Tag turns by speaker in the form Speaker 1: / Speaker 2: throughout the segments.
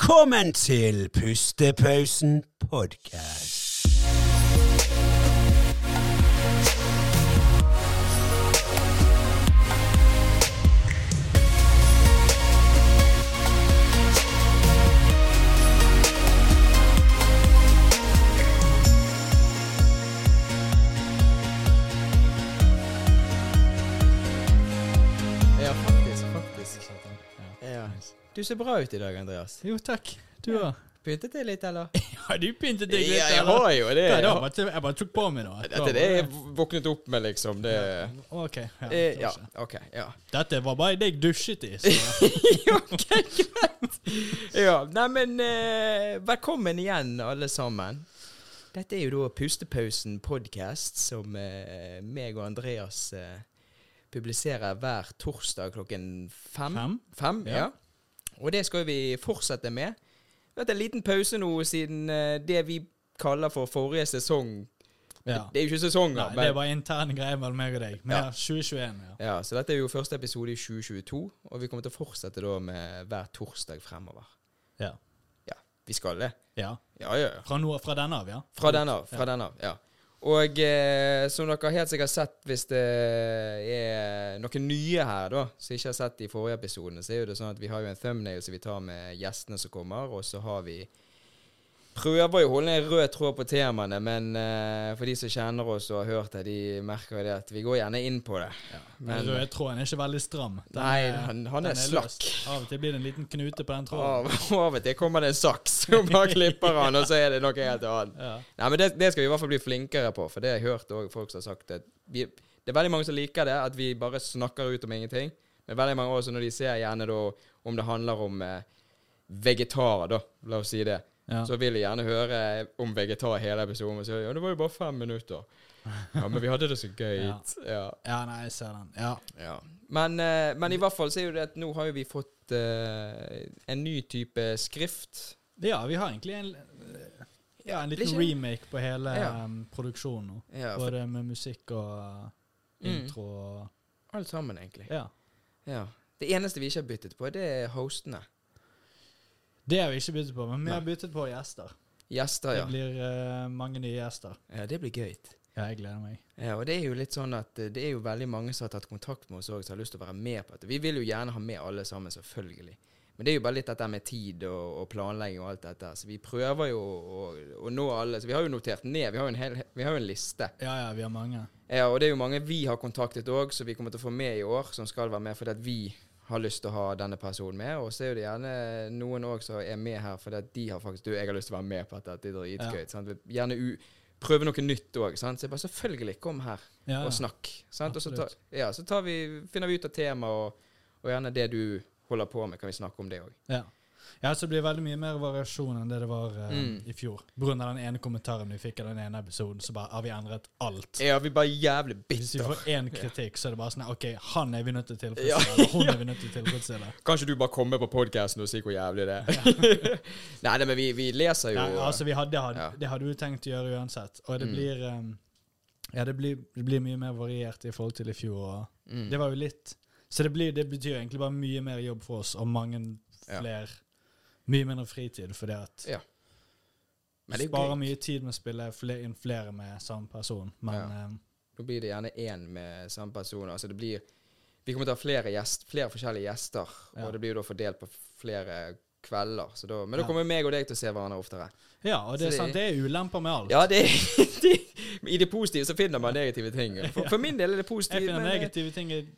Speaker 1: Velkommen til Pustepausen podcast.
Speaker 2: Ja, faktisk. faktisk. Ja. Du ser bra ut i dag, Andreas.
Speaker 3: Jo, takk. Du
Speaker 2: Ja.
Speaker 3: òg.
Speaker 2: Pyntet deg litt, eller?
Speaker 3: Har du pyntet deg litt?
Speaker 2: jeg
Speaker 3: eller?
Speaker 2: har jo det.
Speaker 3: Nei, det
Speaker 2: ja.
Speaker 3: var bare, jeg bare tok på meg nå.
Speaker 2: Dette er det jeg våknet opp med, liksom. Det
Speaker 3: Ok. Ja,
Speaker 2: Eh, ja,
Speaker 3: kanskje.
Speaker 2: OK. Ja.
Speaker 3: Dette var bare det jeg dusjet i. Så.
Speaker 2: ja Neimen, eh, velkommen igjen, alle sammen. Dette er jo da Pustepausen podcast, som eh, meg og Andreas eh, publiserer hver torsdag klokken fem.
Speaker 3: Fem?
Speaker 2: Fem,
Speaker 3: Ja.
Speaker 2: ja. Og det skal vi fortsette med. Vi har hatt en liten pause nå siden eh, det vi kaller for forrige sesong.
Speaker 3: Ja.
Speaker 2: Det er jo ikke sesonger,
Speaker 3: Nei, det
Speaker 2: men
Speaker 3: var interne greier mellom meg og deg. Men
Speaker 2: Ja.
Speaker 3: ja, 2021, ja.
Speaker 2: ja, Så dette er jo første episode i 2022, og vi kommer til å fortsette da med hver torsdag fremover.
Speaker 3: Ja.
Speaker 2: Ja, vi skal det.
Speaker 3: ja.
Speaker 2: Ja, ja, ja.
Speaker 3: Fra, nå, fra denne av, ja?
Speaker 2: Fra den av. Fra den av, ja. Og eh, som dere helt sikkert har sett, hvis det er noen nye her da, som ikke har sett de forrige episodene, så er jo det sånn at vi har jo en thumbnail som vi tar med gjestene som kommer, og så har vi Prøver jo å holde en rød tråd på temaene, men eh, for de som kjenner oss og har hørt det, de merker jo det at vi går gjerne inn på det.
Speaker 3: ja.
Speaker 2: Men-
Speaker 3: Den røde tråden er ikke veldig stram. Den
Speaker 2: Nei,
Speaker 3: er-
Speaker 2: han- han er
Speaker 3: den
Speaker 2: slakk.
Speaker 3: løs. Av og til blir det en liten knute på den tråden.
Speaker 2: Av, av og til kommer det en saks, og bare klipper han, og så er det noe helt annet.
Speaker 3: Ja.
Speaker 2: Nei, men det, det skal vi i hvert fall bli flinkere på, for det har jeg hørt også folk som har sagt. At vi, det er veldig mange som liker det, at vi bare snakker ut om ingenting. Men veldig mange også når de ser gjerne da, om det handler om eh, vegetarer, da, la oss si det.
Speaker 3: Ja.
Speaker 2: Så vil de gjerne høre om vegetar hele episoden. Og så ja, det var jo bare fem minutter. Ja, men vi hadde det så gøy.
Speaker 3: Ja.
Speaker 2: Ja.
Speaker 3: ja, nei, jeg ser den. Ja.
Speaker 2: Ja. Men, eh, men i hvert fall så er jo det at nå har jo vi fått eh, en ny type skrift.
Speaker 3: ja, vi har egentlig en, ja, en liten
Speaker 2: Blir ikke-
Speaker 3: remake på hele
Speaker 2: Ja.
Speaker 3: em, produksjonen nå.
Speaker 2: Ja, for
Speaker 3: Både med musikk og eh,
Speaker 2: Mm.
Speaker 3: intro og
Speaker 2: alt sammen, egentlig.
Speaker 3: Ja.
Speaker 2: Ja. Det eneste vi ikke har byttet på, det er hostene.
Speaker 3: Det har vi ikke byttet på, men vi
Speaker 2: Nei.
Speaker 3: har byttet på gjester.
Speaker 2: Gjester, ja.
Speaker 3: Det blir eh, mange nye gjester.
Speaker 2: Ja, det blir gøy.
Speaker 3: Ja, jeg gleder meg.
Speaker 2: Ja, og det er jo litt sånn at eh, det er jo veldig mange som har tatt kontakt med oss òg, som har lyst til å være med på dette. Vi vil jo gjerne ha med alle sammen, selvfølgelig. Men det er jo bare litt dette med tid og, og planlegging og alt dette. Så vi prøver jo å, å nå alle. Så vi har jo notert ned. Vi har jo en, hel, vi har jo en liste.
Speaker 3: Ja, ja, vi har mange.
Speaker 2: Ja, og det er jo mange vi har kontaktet òg, som vi kommer til å få med i år, som skal være med fordi at vi har lyst til å ha denne personen med. Og så er jo det gjerne noen òg som er med her fordi at de har faktisk Du, jeg har lyst til å være med på dette, det er dritgøy. sant? Gjerne u prøve noe nytt òg. Så jeg bare selvfølgelig, kom her
Speaker 3: Ja,
Speaker 2: og
Speaker 3: ja.
Speaker 2: snakk. Sant? Og så, tar,
Speaker 3: Absolutt.
Speaker 2: ja, så tar vi, finner vi ut av temaet, og, og gjerne det du holder på med, kan vi snakke om det òg.
Speaker 3: ja. ja så det blir veldig mye mer variasjon enn det det var eh,
Speaker 2: Mm.
Speaker 3: i fjor. På grunn av den ene kommentaren vi fikk i den ene episoden, så bare har vi endret alt.
Speaker 2: Ja, vi er bare jævlig
Speaker 3: Hvis vi
Speaker 2: bitter.
Speaker 3: får én kritikk, så er det bare sånn OK, han er vi nødt til å
Speaker 2: Ja.
Speaker 3: tilfredsstille. eller Hun er vi nødt til å tilfredsstille.
Speaker 2: Kanskje du bare kommer på podkasten og sier hvor jævlig det er. Nei, nei, men vi, vi leser jo
Speaker 3: Nei, altså, vi hadde, hadde,
Speaker 2: Ja.
Speaker 3: Det hadde vi tenkt å gjøre uansett. Og det
Speaker 2: Mm.
Speaker 3: blir em, Ja, det blir, det blir mye mer variert i forhold til i fjor. og...
Speaker 2: mm.
Speaker 3: Det var jo litt Så det, blir, det betyr egentlig bare mye mer jobb for oss, og mange
Speaker 2: Ja.
Speaker 3: flere Mye mindre fritid, fordi at
Speaker 2: Ja. Men det
Speaker 3: du
Speaker 2: er jo
Speaker 3: sparer
Speaker 2: gøy.
Speaker 3: mye tid med å spille fle- inn flere med samme person, men
Speaker 2: Ja.
Speaker 3: ehm,
Speaker 2: Nå blir det gjerne én med samme person. Altså det blir Vi kommer til å ha flere, gjest, flere forskjellige gjester,
Speaker 3: Ja.
Speaker 2: og det blir jo da fordelt på flere kvelder. Så da, men da
Speaker 3: Ja.
Speaker 2: kommer jo meg og deg til å se hverandre oftere.
Speaker 3: Ja, og det
Speaker 2: Så
Speaker 3: er
Speaker 2: det-
Speaker 3: sant, det er ulemper med alt.
Speaker 2: Ja, det, det I det positive så finner man negative ting. For, for min del er det positivt.
Speaker 3: Jeg finner
Speaker 2: men- eh,
Speaker 3: negative ting i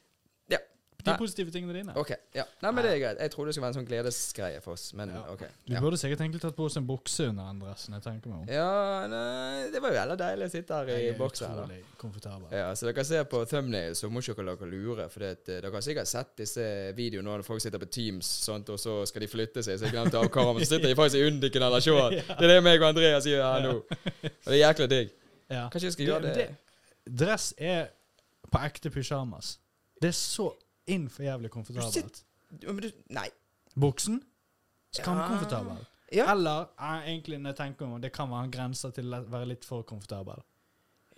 Speaker 2: Ja.
Speaker 3: De
Speaker 2: Nei.
Speaker 3: positive tingene dine.
Speaker 2: Ok, ja. Nei, men det er greit. Jeg trodde det skulle være en sånn gledesgreie for oss, men
Speaker 3: Ja.
Speaker 2: ok.
Speaker 3: Du
Speaker 2: Ja.
Speaker 3: burde sikkert egentlig tatt på oss en bukse under den dressen. Jeg tenker meg om.
Speaker 2: ja, nei Det var jo veldig deilig å sitte her i
Speaker 3: Jeg er
Speaker 2: boksen. her, da.
Speaker 3: utrolig komfortabel.
Speaker 2: Ja, så dere ser på thumbnail, så må ikke dere lure. For det, at, eh, dere har sikkert sett disse videoene når folk sitter på Teams sånt, og så skal de flytte seg, så jeg glemte av kameraet. Så sitter de faktisk i Undiken eller Sjåan. Det er det meg og Andreas gjør her nå. Og det er jækla digg.
Speaker 3: Ja.
Speaker 2: Kanskje jeg skal gjøre det?
Speaker 3: Dress er på ekte pysjamas. Det er så inn for jævlig
Speaker 2: sitter-
Speaker 3: komfortabelt.
Speaker 2: Ja, men du, nei.
Speaker 3: Buksen? Skamkomfortabel.
Speaker 2: Ah. Ja.
Speaker 3: Eller eh, egentlig når jeg tenker meg om, det kan være en grense til å være litt for komfortabel.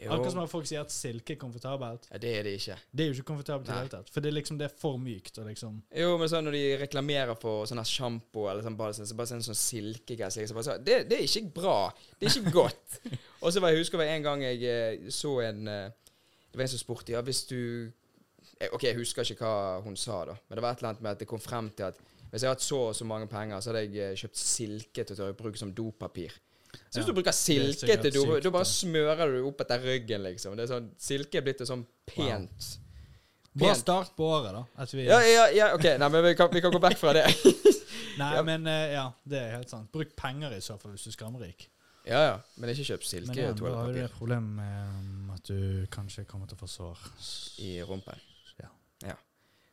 Speaker 2: Jo.
Speaker 3: Akkurat som at folk sier at silke er komfortabelt.
Speaker 2: Ja, det er det ikke.
Speaker 3: Det er jo ikke komfortabelt i det
Speaker 2: Nei.
Speaker 3: hele tatt. For det er liksom det er for mykt. Og liksom
Speaker 2: Jo, men sånn når de reklamerer for sånn her sjampo eller sånn balsam, så bare sånn, sånn silkegreier så jeg bare sa, det, det er ikke bra. Det er ikke godt. Og så var jeg husker det var en gang jeg eh, så en eh, Det var en som spurte ja, hvis du eh, OK, jeg husker ikke hva hun sa, da, men det var et eller annet med at det kom frem til at hvis jeg hadde hatt så og så mange penger, så hadde jeg eh, kjøpt silke til å bruke som dopapir. Så hvis
Speaker 3: Ja,
Speaker 2: du bruker
Speaker 3: det er
Speaker 2: silke til
Speaker 3: sikkert
Speaker 2: dopapir,
Speaker 3: sykt,
Speaker 2: da
Speaker 3: da.
Speaker 2: bare smører du opp etter ryggen, liksom. Det er sånn, silke er blitt et sånn pent
Speaker 3: Bra
Speaker 2: Pent.
Speaker 3: start på året, da. At vi,
Speaker 2: Ja, ja, ja, OK, nei, men vi kan, vi kan gå vekk fra det.
Speaker 3: Nei,
Speaker 2: ja.
Speaker 3: men eh, ja, det er helt sant. Bruk penger i så fall hvis du er skamrik.
Speaker 2: Ja, ja. Men ikke kjøp
Speaker 3: Men
Speaker 2: silke og
Speaker 3: igjen, da har du det
Speaker 2: toalettpapir
Speaker 3: problemet med um, at du kanskje kommer til å få sår.
Speaker 2: i rumpen.
Speaker 3: Ja.
Speaker 2: Ja.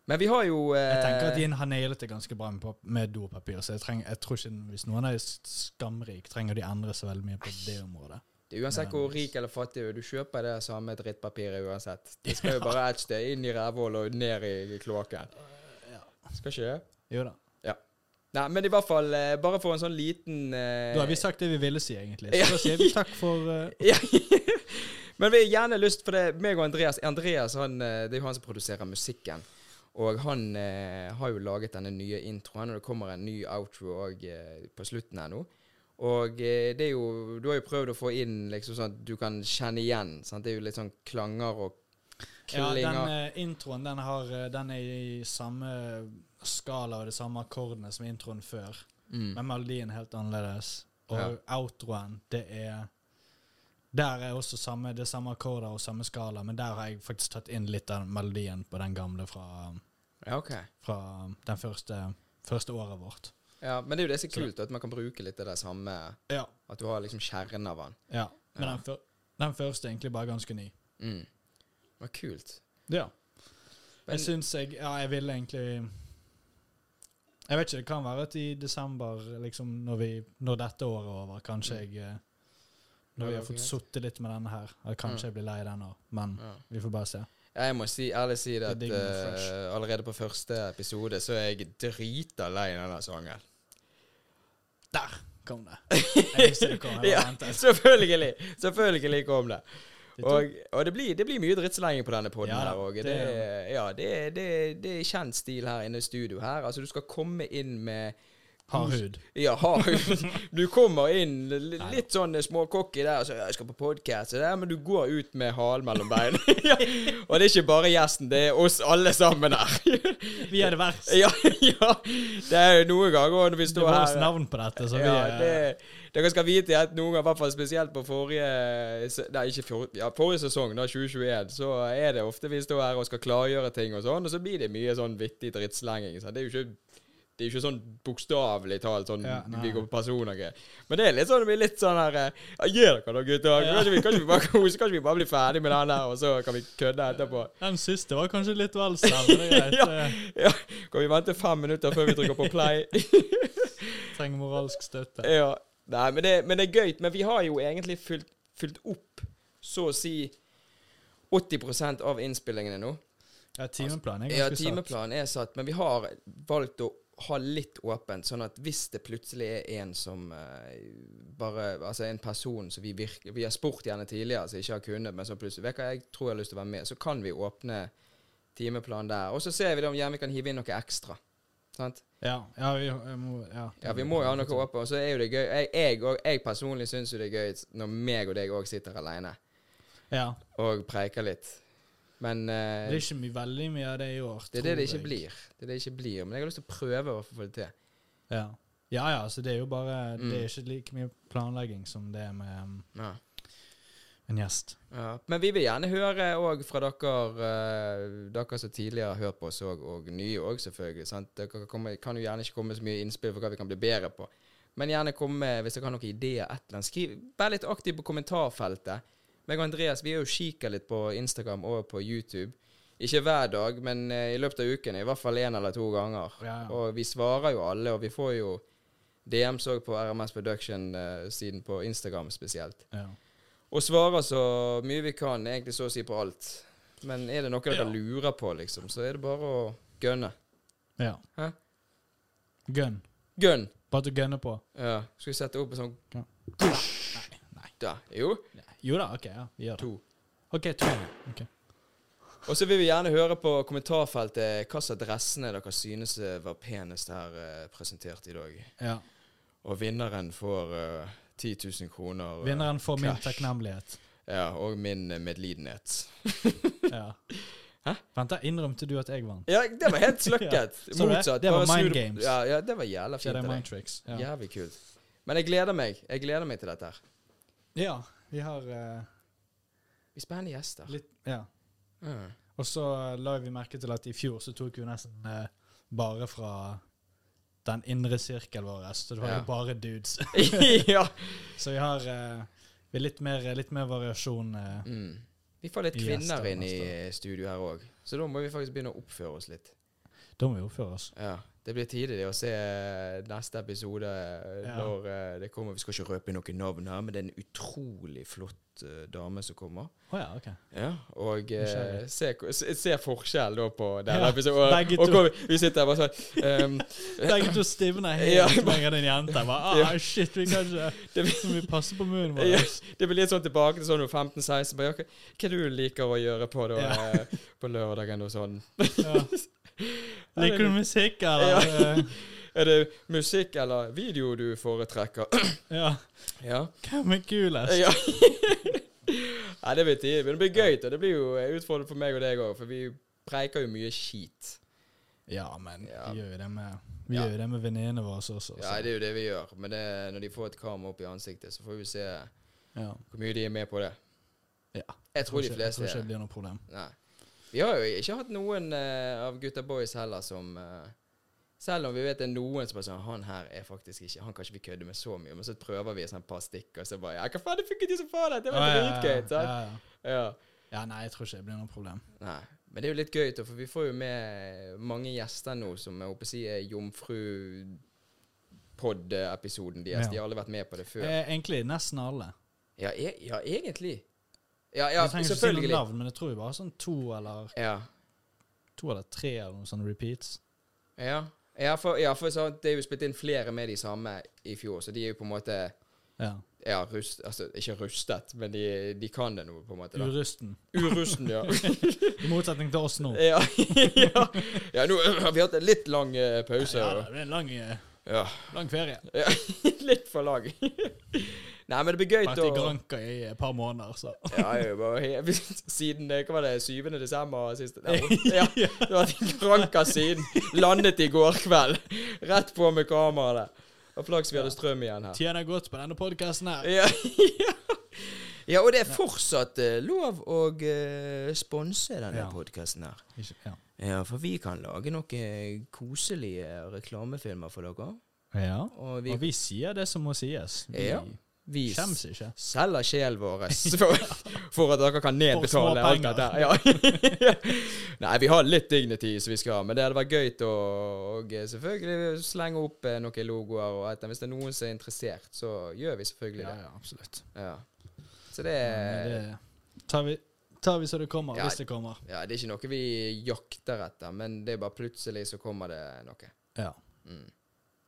Speaker 2: Men vi har jo eh,
Speaker 3: Jeg tenker at Yin har nailet det ganske bra med, pap- med dopapir, så jeg, treng, jeg tror ikke hvis noen er s- skamrik, trenger de endre så veldig mye på det området.
Speaker 2: det er Uansett hvor rik eller fattig du er, du kjøper det samme drittpapiret uansett. Det skal jo bare et sted inn i rævhullet og ned i kloakken. Skal ikke det?
Speaker 3: Jo da.
Speaker 2: Nei, men i hvert fall, eh, bare for en sånn liten eh,
Speaker 3: Da har vi sagt det vi ville si, egentlig.
Speaker 2: Ja.
Speaker 3: Så da sier vi takk for uh,
Speaker 2: Ja. Men vi har gjerne lyst for det. Meg og Andreas Andreas han, eh, det er jo han som produserer musikken. Og han eh, har jo laget denne nye introen, og det kommer en ny outro òg eh, på slutten her nå. Og eh, det er jo Du har jo prøvd å få inn liksom sånn at du kan kjenne igjen. Sant? Det er jo litt sånn klanger og
Speaker 3: Ja,
Speaker 2: klinger.
Speaker 3: den eh, introen den, har, eh, den er i samme skala og de samme akkordene som introen før,
Speaker 2: mm.
Speaker 3: men melodien er helt annerledes. Og
Speaker 2: Ja.
Speaker 3: outroen, det er Der er også samme, det er samme akkorder og samme skala, men der har jeg faktisk tatt inn litt av melodien på den gamle fra, um,
Speaker 2: Ja, ok.
Speaker 3: fra den første, første året vårt.
Speaker 2: Ja, men det er jo det som er kult, at man kan bruke litt av det samme.
Speaker 3: Ja.
Speaker 2: At du har liksom kjernen av den.
Speaker 3: ja. Men
Speaker 2: Ja.
Speaker 3: Den, fyr, den første er egentlig bare ganske ny.
Speaker 2: Mm. Men kult.
Speaker 3: Ja.
Speaker 2: Men-
Speaker 3: jeg syns jeg Ja, jeg ville egentlig Jeg vet ikke, det kan være at i desember, liksom når, vi, når dette året er over, kanskje
Speaker 2: Mm.
Speaker 3: jeg eh, Når vi har fått sittet litt med denne her, at kanskje jeg blir lei den òg, men
Speaker 2: Ja.
Speaker 3: vi får bare se.
Speaker 2: Jeg må si, ærlig si det
Speaker 3: er
Speaker 2: at
Speaker 3: digg med
Speaker 2: eh,
Speaker 3: fresh.
Speaker 2: allerede på første episode så er jeg drita lei denne sangen.
Speaker 3: Der kom det! Jeg visste det kom, jeg
Speaker 2: Ja,
Speaker 3: bare ventet.
Speaker 2: selvfølgelig! Selvfølgelig kom det.
Speaker 3: Det tok-
Speaker 2: Og, og det, blir, det blir mye drittslenging på denne podden
Speaker 3: Ja da,
Speaker 2: her òg.
Speaker 3: det
Speaker 2: Det,
Speaker 3: gjør
Speaker 2: er- ja, det, er- det, er- det er kjent stil her inne i studio her. Altså, du skal komme inn med
Speaker 3: Hard hud.
Speaker 2: Ja, har- du kommer inn li- litt sånn småcocky der og så, «Ja, 'Jeg skal på podkast', men du går ut med halen mellom beina. ja. Og det er ikke bare gjesten, det er oss alle sammen her.
Speaker 3: Vi er det verst.
Speaker 2: Ja, ja. Det er jo noen ganger også når vi
Speaker 3: Det
Speaker 2: står
Speaker 3: var
Speaker 2: her
Speaker 3: oss navn på dette, så vi
Speaker 2: ja,
Speaker 3: er-
Speaker 2: det, Dere skal vite at noen ganger, i hvert fall spesielt på forrige se- Nei, ikke for, ja, forrige sesong, da, 2021, så er det ofte vi står her og skal klargjøre ting og sånn, og så blir det mye sånn vittig drittslenging. sant? Det er jo ikke det er jo ikke sånn bokstavelig talt sånn
Speaker 3: Ja, nei.
Speaker 2: vi går på person og greier. Men det er litt sånn det blir litt sånn her eh, ja, Gi dere da, gutter. Kan ikke vi, kan ikke vi bare kose? Kan ikke vi bare bli ferdig med den der, og så kan vi kødde etterpå?
Speaker 3: Den siste var kanskje litt vel snau, men det er greit.
Speaker 2: Ja.
Speaker 3: eh,
Speaker 2: Ja, kan vi vente fem minutter før vi trykker på play?
Speaker 3: Trenger moralsk støtte.
Speaker 2: ja. Nei, men det, men det er gøy. Men vi har jo egentlig fylt, fylt opp så å si 80 av innspillingene nå.
Speaker 3: Ja, timeplanen er
Speaker 2: Ja,
Speaker 3: ganske satt.
Speaker 2: timeplanen er satt, men vi har valgt å ha litt åpent, sånn at hvis det plutselig er en som eh, bare Altså en person som vi virkelig Vi har spurt gjerne tidligere, som ikke har kunnet, men som plutselig Vet du hva, jeg tror jeg har lyst til å være med. Så kan vi åpne timeplanen der. Og så ser vi da om gjerne vi kan hive inn noe ekstra. Sant?
Speaker 3: Ja, ja, vi, jeg må, ja.
Speaker 2: Ja, vi må jo ha noe åpent, og så er jo det gøy. Jeg, jeg, og, jeg personlig syns jo det er gøy når meg og deg òg sitter aleine
Speaker 3: Ja.
Speaker 2: og preiker litt. Men eh,
Speaker 3: Det er ikke mye, veldig mye av det i
Speaker 2: det
Speaker 3: år.
Speaker 2: er det
Speaker 3: tror
Speaker 2: det ikke
Speaker 3: jeg.
Speaker 2: blir. Det er det ikke blir. Men jeg har lyst til å prøve å få det til.
Speaker 3: Ja. ja ja, så det er jo bare Det
Speaker 2: Mm.
Speaker 3: er ikke like mye planlegging som det er med um,
Speaker 2: Ja.
Speaker 3: en gjest.
Speaker 2: Ja. Men vi vil gjerne høre òg fra dere eh, Dere som tidligere har hørt på oss òg, og nye òg, selvfølgelig. Sant? Dere kan, komme, kan jo gjerne ikke komme med så mye innspill for hva vi kan bli bedre på. Men gjerne komme med, hvis dere har noen ideer. et eller annet. Skriv, Vær litt aktiv på kommentarfeltet. Meg og Andreas vi er jo kikker litt på Instagram og på YouTube. Ikke hver dag, men eh, i løpet av uken i hvert fall én eller to ganger.
Speaker 3: Ja, ja.
Speaker 2: Og vi svarer jo alle, og vi får jo DMs òg på RMS Production-siden eh, på Instagram spesielt.
Speaker 3: Ja.
Speaker 2: Og svarer så mye vi kan, egentlig så å si på alt. Men er det noe dere
Speaker 3: Ja.
Speaker 2: lurer på, liksom, så er det bare å gønne.
Speaker 3: ja.
Speaker 2: Hæ?
Speaker 3: Gun.
Speaker 2: Gønn!
Speaker 3: Bare at du gunner på.
Speaker 2: Ja. Skal vi sette opp en sånn
Speaker 3: Ja.
Speaker 2: Da. Jo.
Speaker 3: Jo da, OK. ja, vi gjør det.
Speaker 2: To.
Speaker 3: OK, to. Ok.
Speaker 2: Og så vil vi gjerne høre på kommentarfeltet hva slags dressene dere synes eh, var penest her eh, presentert i dag.
Speaker 3: Ja.
Speaker 2: Og vinneren får eh, 10 000 kroner. eh,
Speaker 3: Vinneren får min
Speaker 2: Clash.
Speaker 3: takknemlighet.
Speaker 2: Ja, og min eh, medlidenhet.
Speaker 3: Ja. Vent, da innrømte du at jeg vant.
Speaker 2: Ja, det var helt sløkket.
Speaker 3: Ja, så du det?
Speaker 2: Motsatt.
Speaker 3: Det var
Speaker 2: Bare snu
Speaker 3: mind
Speaker 2: det-
Speaker 3: games.
Speaker 2: Ja, ja, det var jævla fint.
Speaker 3: Jedi
Speaker 2: av deg.
Speaker 3: Mind Tricks. Ja.
Speaker 2: Jævlig kult. Men jeg gleder meg. Jeg gleder meg til dette her.
Speaker 3: ja, vi har eh,
Speaker 2: Vi er spennende gjester.
Speaker 3: litt Ja.
Speaker 2: Mm.
Speaker 3: Og så la vi merke til at i fjor så tok vi nesten eh, bare fra den indre sirkel vår, så det var
Speaker 2: Ja.
Speaker 3: jo bare dudes.
Speaker 2: ja.
Speaker 3: Så vi har eh, vi er litt, mer, litt mer variasjon. eh.
Speaker 2: Mm. Vi får litt
Speaker 3: Gjester
Speaker 2: kvinner inn
Speaker 3: neste
Speaker 2: i studio her òg, så da må vi faktisk begynne å oppføre oss litt.
Speaker 3: Da må vi oppføre oss.
Speaker 2: Ja, Det blir tidlig å se eh, neste episode eh,
Speaker 3: Ja.
Speaker 2: når eh, det kommer. Vi skal ikke røpe noen navn her, men det er en utrolig flott eh, dame som kommer.
Speaker 3: Å ja, ok.
Speaker 2: Ja, og eh, se,
Speaker 3: Nysgjerrig.
Speaker 2: se, se forskjell da på den
Speaker 3: Ja,
Speaker 2: episoden. Og,
Speaker 3: begge
Speaker 2: og
Speaker 3: to.
Speaker 2: hvor vi, vi sitter her bare sånn ehm,
Speaker 3: Begge to stivner
Speaker 2: Ja.
Speaker 3: helt mer enn en jente. Jeg Bare, ah,
Speaker 2: Ja.
Speaker 3: shit, vi kan ikke
Speaker 2: Det
Speaker 3: Så må vi passe på munnen vår.
Speaker 2: Ja. Det blir litt sånn tilbake til sånn 15-16. bare, «Ja, Hva, hva du liker å gjøre på, da,
Speaker 3: Ja.
Speaker 2: eh, på lørdagen og sånn?
Speaker 3: Ja. Liker du musikk,
Speaker 2: Ja.
Speaker 3: eller? Eh,
Speaker 2: Er det musikk eller video du foretrekker?
Speaker 3: Ja.
Speaker 2: ja.
Speaker 3: Hvem er kulest?
Speaker 2: ja. Nei, det blir tidlig, men det blir gøy. da. Det blir jo en utfordring for meg og deg òg, for vi preiker jo mye skit.
Speaker 3: Ja, men
Speaker 2: Ja.
Speaker 3: vi gjør jo det med, vi
Speaker 2: Ja.
Speaker 3: gjør jo det med venninnene våre også. så-
Speaker 2: Ja, det er jo det vi gjør. Men det, når de får et kamera opp i ansiktet, så får vi se hvor
Speaker 3: ja.
Speaker 2: mye de er med på det.
Speaker 3: Ja.
Speaker 2: Jeg tror de
Speaker 3: ikke-
Speaker 2: fleste er
Speaker 3: Jeg tror ikke det
Speaker 2: det.
Speaker 3: blir noe problem.
Speaker 2: Nei. Vi har jo ikke hatt noen eh, av gutta boys heller som eh, Selv om vi vet det er noen som bare sånn Han her er faktisk ikke Han kan ikke vi kødde med så mye, men så prøver vi sånn et par stikk, og så bare Ja, hva faen, det funket jo som faen! Det var dritgøy!
Speaker 3: ja,
Speaker 2: sant?
Speaker 3: ja.
Speaker 2: Ja.
Speaker 3: ja, nei, jeg tror ikke det blir noe problem.
Speaker 2: Nei. Men det er jo litt gøy, da, for vi får jo med mange gjester nå som jeg håper å si er jomfrupod episoden deres.
Speaker 3: Ja.
Speaker 2: De har alle vært med på det før.
Speaker 3: Eh, egentlig nesten alle.
Speaker 2: Ja, e ja egentlig. Ja, ja,
Speaker 3: jeg trenger ikke si noen
Speaker 2: selvfølgelig.
Speaker 3: navn, men jeg tror vi bare har sånn to eller,
Speaker 2: Ja.
Speaker 3: to eller tre eller noen sånne repeats.
Speaker 2: Ja, ja for, ja, for så, det er jo spilt inn flere med de samme i fjor, så de er jo på en måte
Speaker 3: Ja.
Speaker 2: ja, rust, altså, ikke rustet, men de, de kan det nå, på en måte. da.
Speaker 3: Urusten.
Speaker 2: Urusten, ja.
Speaker 3: I motsetning til oss nå.
Speaker 2: ja. ja. Ja, nå har vi hatt en litt lang eh, pause.
Speaker 3: Ja, da,
Speaker 2: og-
Speaker 3: det blir en lang, eh,
Speaker 2: Ja.
Speaker 3: lang ferie.
Speaker 2: ja. litt for lang. Nei, men det blir gøy
Speaker 3: Vært i
Speaker 2: å
Speaker 3: Granca i et par måneder, så.
Speaker 2: ja, jeg er jo bare helt- Siden eh, hva var det, 7. desember sist? Nei, Ja, det har vært i Granca siden. Landet i går kveld. Rett på med kameraet. Og flaks vi hadde strøm igjen her.
Speaker 3: Tjener godt på denne podkasten her.
Speaker 2: Ja, ja. ja, og det er fortsatt eh, lov å eh, sponse denne
Speaker 3: Ja.
Speaker 2: podkasten her.
Speaker 3: Ikke, ja.
Speaker 2: Ja, for vi kan lage noen eh, koselige reklamefilmer for dere.
Speaker 3: ja.
Speaker 2: Og vi,
Speaker 3: Og vi sier det som må sies. Vi
Speaker 2: Ja. vi
Speaker 3: skjems ikke.
Speaker 2: selger sjelen vår for, for at dere kan
Speaker 3: For små
Speaker 2: nedbetale alt dette. Ja. Nei, vi har litt dignity som vi skal ha, men det hadde vært gøy å og selvfølgelig slenge opp eh, noen logoer. og et, Hvis det er noen som er interessert, så gjør vi selvfølgelig det.
Speaker 3: absolutt.
Speaker 2: Ja. Så det
Speaker 3: Men det tar vi, tar vi så det kommer,
Speaker 2: Eh. Ja.
Speaker 3: hvis det kommer.
Speaker 2: Ja, det er ikke noe vi jakter etter, men det er bare plutselig så kommer det noe.
Speaker 3: Ja.
Speaker 2: Mm.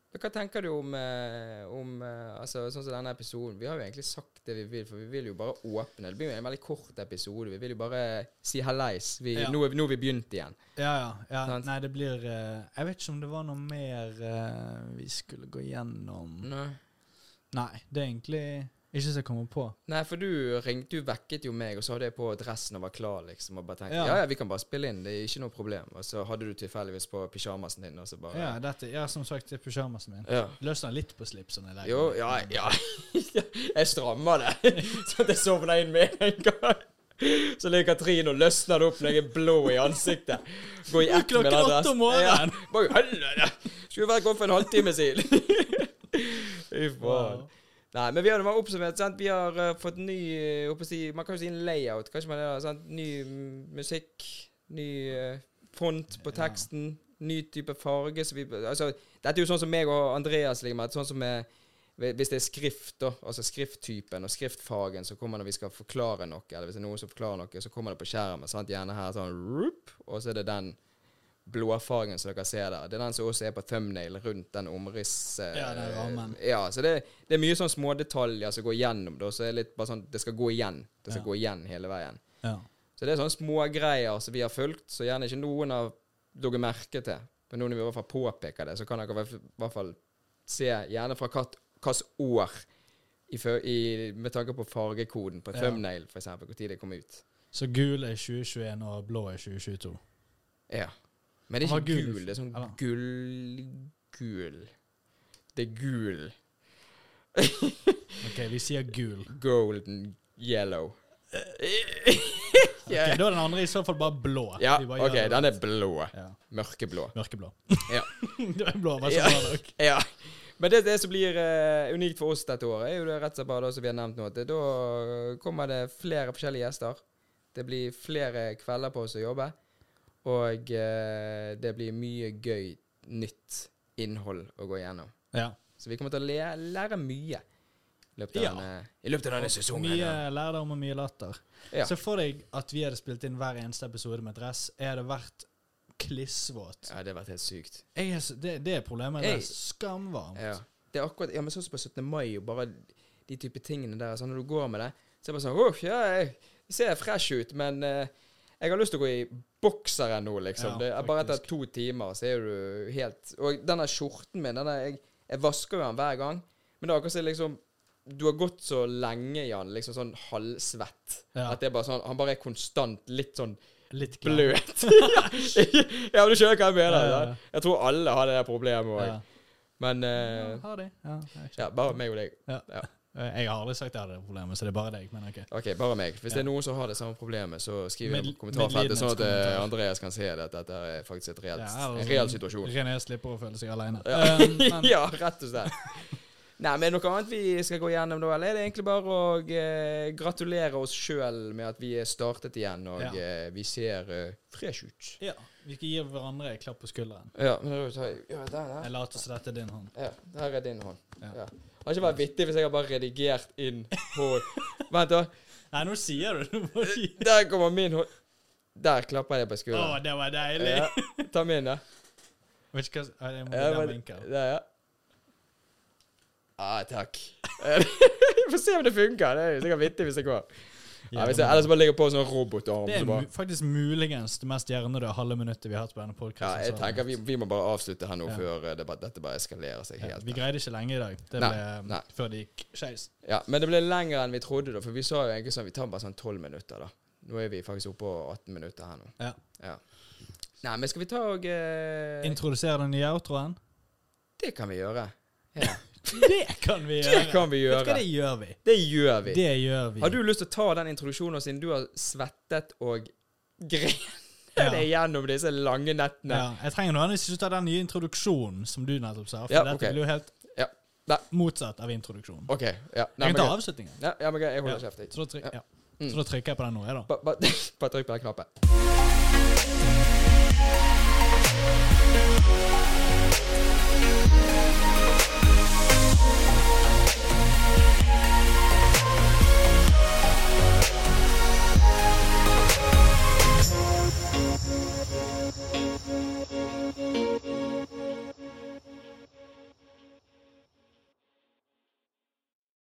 Speaker 2: Men Hva tenker du om, eh, om eh, altså, sånn som denne episoden? Vi har jo egentlig sagt det vi vil, for vi vil jo bare åpne. Det blir jo en veldig kort episode. Vi vil jo bare si hallais. Vi,
Speaker 3: Ja.
Speaker 2: nå, er vi- nå har vi begynt igjen.
Speaker 3: Ja, ja. ja.
Speaker 2: Sant?
Speaker 3: Nei, det blir eh, Jeg vet ikke om det var noe mer eh, vi skulle gå gjennom
Speaker 2: Nei.
Speaker 3: Nei, det er egentlig ikke så jeg kommer på.
Speaker 2: Nei, for du ringte, du vekket jo meg, og så hadde jeg på dressen og var klar, liksom. Og bare tenkte ja.
Speaker 3: Ja.
Speaker 2: ja vi kan bare spille inn, det er ikke noe problem. Og så hadde du tilfeldigvis på pysjamasen din, og så bare
Speaker 3: Ja, dette, ja som sagt, det er pysjamasen min.
Speaker 2: ja.
Speaker 3: Løsner litt på slipsen i dag.
Speaker 2: Jo, ja, ja. Jeg strammer det, så jeg sovner inn med en gang. Så ligger Trine og løsner det opp når jeg er blå i ansiktet. Går i ett med
Speaker 3: Klokken
Speaker 2: den
Speaker 3: åtte
Speaker 2: dressen.
Speaker 3: om morgenen.
Speaker 2: Ja, bare, helvete. Skulle vært gått for en halvtime siden. Fy faen.
Speaker 3: Wow.
Speaker 2: Nei, men vi har det bare oppsummert. sant? Vi har eh, fått ny eh, håper jeg, å si, Man kan jo si en layout. Kanskje man har sant? ny mm, musikk, ny eh, font på
Speaker 3: Ja.
Speaker 2: teksten, ny type farge så vi, altså, Dette er jo sånn som meg og Andreas ligger med. at Sånn som eh, hvis det er skrift, da, altså skrifttypen og skriftfagen som kommer når vi skal forklare noe, eller hvis det er noen som forklarer noe, så kommer det på skjermen. sant? Gjerne her sånn roop, og så er det den blåfargen som dere ser der. Det er den som også er på thumbnail rundt den omriss... eh,
Speaker 3: Ja, den rammen.
Speaker 2: Ja, så det, det er mye sånn smådetaljer som går gjennom, da, så det er litt bare sånn Det skal gå igjen. Det skal
Speaker 3: Ja.
Speaker 2: gå igjen hele veien.
Speaker 3: Ja.
Speaker 2: Så det er sånne smågreier som vi har fulgt, så gjerne ikke noen har lagt merke til. Men nå når vi i hvert fall påpeker det, så kan dere i hvert fall- i hvert fall se gjerne fra hvilket år i, fø- i, med tanke på fargekoden på
Speaker 3: Ja.
Speaker 2: thumbnail, for eksempel, hvor tid det kom ut.
Speaker 3: Så gul er 2021, og blå er 2022.
Speaker 2: Ja. Men det er
Speaker 3: Han
Speaker 2: ikke
Speaker 3: var gul.
Speaker 2: gul, det er sånn
Speaker 3: Eller?
Speaker 2: gull-gul. Det er gul.
Speaker 3: Ok, vi sier gul.
Speaker 2: Golden yellow.
Speaker 3: Ok, Da er den andre i så fall bare blå.
Speaker 2: Eh. Ja,
Speaker 3: Vi bare
Speaker 2: OK,
Speaker 3: gjør det.
Speaker 2: den er blå.
Speaker 3: ja.
Speaker 2: Mørkeblå.
Speaker 3: Mørkeblå.
Speaker 2: Ja.
Speaker 3: det er blå, var så
Speaker 2: Ja.
Speaker 3: bra nok.
Speaker 2: Ja. Men det, det som blir eh, unikt for oss dette året, er jo det rett og slett bare det som vi har nevnt nå, at det- da kommer det flere forskjellige gjester. Det blir flere kvelder på oss å jobbe, og eh, det blir mye gøy, nytt innhold å gå igjennom.
Speaker 3: Ja.
Speaker 2: Så vi kommer til å le, lære mye i løpet av
Speaker 3: Ja.
Speaker 2: denne, i løpet av denne sesongen.
Speaker 3: Mye
Speaker 2: ja.
Speaker 3: lærdom og mye latter.
Speaker 2: Ja.
Speaker 3: Se for deg at vi hadde spilt inn hver eneste episode med dress. Jeg hadde vært klissvåt.
Speaker 2: ja, det har vært helt sykt.
Speaker 3: Jeg er, så- det, det er problemet med
Speaker 2: Jeg-
Speaker 3: dress. Skamvarmt.
Speaker 2: Ja. Det er akkurat Ja, men sånn som på 17. mai, og bare de type tingene der. Sånn når du går med det, så er det bare sånn Uff, ja, jeg ser fresh ut, men eh, jeg har lyst til å gå i bokseren nå, liksom.
Speaker 3: Ja,
Speaker 2: det er bare etter
Speaker 3: faktisk.
Speaker 2: to timer, så er du helt Og denne skjorten min, denne jeg, jeg vasker jo den hver gang, men det er akkurat som liksom du har gått så lenge i den, liksom sånn halvsvett,
Speaker 3: Ja.
Speaker 2: at det er bare sånn Han bare er konstant litt sånn
Speaker 3: Litt klam.
Speaker 2: bløt. ja, ja, men du skjønner hva jeg mener?
Speaker 3: Ja, ja, ja.
Speaker 2: sant? Jeg tror alle har det der problemet òg.
Speaker 3: Ja.
Speaker 2: Men eh,
Speaker 3: Ja, har de. Ja, jeg,
Speaker 2: ja, bare meg og deg.
Speaker 3: Ja.
Speaker 2: Ja.
Speaker 3: jeg har aldri sagt jeg hadde det problemet, så det er bare deg. Men ok.
Speaker 2: Ok, bare meg. Hvis det er noen som har det samme problemet, så skriv i
Speaker 3: Med-
Speaker 2: kommentarfeltet, sånn at eh,
Speaker 3: medlidenhetskommentar.
Speaker 2: Andreas kan se det, at dette er faktisk et reelt,
Speaker 3: Ja, eller
Speaker 2: en reell
Speaker 3: sånn-
Speaker 2: situasjon.
Speaker 3: René slipper å føle seg Um, aleine.
Speaker 2: Ja. ja, rett og slett. Nei, men er det noe annet vi skal gå gjennom da, eller er det egentlig bare å eh, gratulere oss sjøl med at vi er startet igjen, og
Speaker 3: Ja.
Speaker 2: eh, vi ser eh, fresh ut?
Speaker 3: ja. Vi skal gi hverandre en klapp på skulderen.
Speaker 2: Ja, men da tar jeg ja, der, der.
Speaker 3: Jeg later som dette er din hånd.
Speaker 2: Ja, der er din hånd.
Speaker 3: Ja.
Speaker 2: Ja. Det hadde ikke vært vittig hvis jeg hadde bare redigert inn hånd. Vent, da.
Speaker 3: Nei, nå sier du det! Du må gi-
Speaker 2: Der kommer min hånd. Der klapper jeg på
Speaker 3: Å,
Speaker 2: skulderen.
Speaker 3: det var deilig!
Speaker 2: Ja, ta min, da.
Speaker 3: Vet ikke hva som- ja, Jeg må
Speaker 2: Ja,
Speaker 3: gi
Speaker 2: men-
Speaker 3: den vinkel.
Speaker 2: Ja, ja. Ah, takk. Vi får se om det funker. Det er jo sikkert vittig hvis det går. Ja, hvis jeg, ellers bare ligger på en sånn robotarm.
Speaker 3: Det
Speaker 2: Så
Speaker 3: er
Speaker 2: bare,
Speaker 3: mu faktisk muligens det mest hjernedøde halve minuttet vi har hatt på denne
Speaker 2: ja,
Speaker 3: podkasten.
Speaker 2: jeg tenker vi, vi må bare avslutte her nå
Speaker 3: sånn Ja.
Speaker 2: før eh, det, bare- dette bare eskalerer seg helt.
Speaker 3: vi greide ikke lenge i dag. Det
Speaker 2: Nei,
Speaker 3: ble um,
Speaker 2: nei.
Speaker 3: før det gikk skeis.
Speaker 2: Ja, Men det ble lenger enn vi trodde, da. For vi sa jo egentlig sånn vi tar bare sånn 12 minutter, da. Nå er vi faktisk oppe på 18 minutter her nå.
Speaker 3: Ja.
Speaker 2: Ja. Nei, men skal vi ta og eh,
Speaker 3: Introdusere den nye outroen?
Speaker 2: Det kan vi gjøre. Ja.
Speaker 3: Det kan vi gjøre!
Speaker 2: Det kan vi
Speaker 3: Vet du hva,
Speaker 2: gjøre.
Speaker 3: det gjør vi.
Speaker 2: Det gjør vi.
Speaker 3: Det gjør vi.
Speaker 2: Har du lyst til å ta den introduksjonen siden du har svettet og grenet
Speaker 3: Ja.
Speaker 2: deg gjennom disse lange nettene?
Speaker 3: Ja, jeg trenger nødvendigvis ikke ta den nye introduksjonen som du nettopp sa. For
Speaker 2: Ja,
Speaker 3: dette
Speaker 2: ok.
Speaker 3: blir jo helt
Speaker 2: Ja. Nei.
Speaker 3: motsatt av introduksjonen.
Speaker 2: OK. Ja.
Speaker 3: jeg kan ta
Speaker 2: greit.
Speaker 3: avslutningen.
Speaker 2: Ja, ja, men greit, jeg holder
Speaker 3: Ja,
Speaker 2: kjeft. jeg.
Speaker 3: Så da, tryk, ja.
Speaker 2: Mm.
Speaker 3: så da trykker jeg på den nå, jeg, da.
Speaker 2: Ba- ba- Bare trykk på den knappen.